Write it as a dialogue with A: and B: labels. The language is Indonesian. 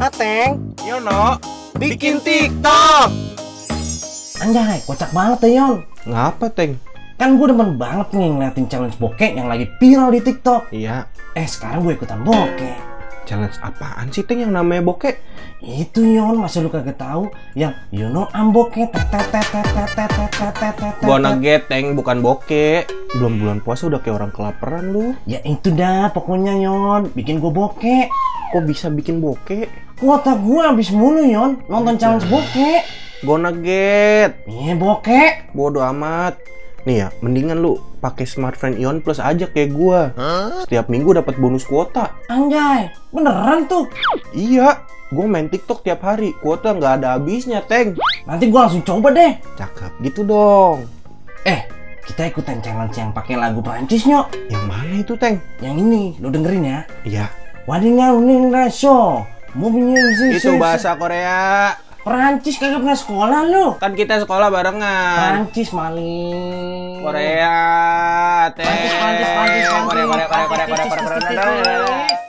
A: Ateng
B: Yono
A: bikin TikTok. Anjay, kocak banget deh Yon.
B: Ngapa Teng?
A: Kan gue demen banget nih ngeliatin challenge bokeh yang lagi viral di TikTok.
B: Iya
A: Eh sekarang gue ikutan bokeh.
B: Challenge apaan sih Teng yang namanya bokeh?
A: Itu Yon, masa lu kagak tahu yang you know I'm bokeh.
B: Bonege Teng bukan bokeh Belum bulan puasa udah kayak orang kelaparan lu
A: Ya itu dah pokoknya Yon, bikin gue bokeh.
B: Kok bisa bikin bokeh?
A: Kuota gue habis mulu Yon, nonton challenge bokeh.
B: Gonaget
A: Iya bokeh.
B: Bodoh amat Nih ya, mendingan lu pakai smartphone Ion Plus aja kayak gua. Setiap minggu dapat bonus kuota.
A: Anjay, beneran tuh.
B: Iya, gua main TikTok tiap hari. Kuota nggak ada habisnya, Teng.
A: Nanti gue langsung coba deh.
B: Cakep gitu dong.
A: Eh, kita ikutan challenge yang pakai lagu Prancis nyok.
B: Yang mana itu, Teng?
A: Yang ini, lu dengerin ya.
B: Iya.
A: Wadinga uning raso. Mobilnya
B: Itu bahasa Korea.
A: Prancis kagak pernah sekolah lu.
B: Kan kita sekolah barengan.
A: Prancis maling.
B: Ah. Korea, Teng.
A: Prancis, Prancis, Prancis,
B: Korea, Korea, Korea, Korea,
A: Prancis,
B: Korea, Korea,
A: Prancis,
B: Korea, Korea.
A: Prancis.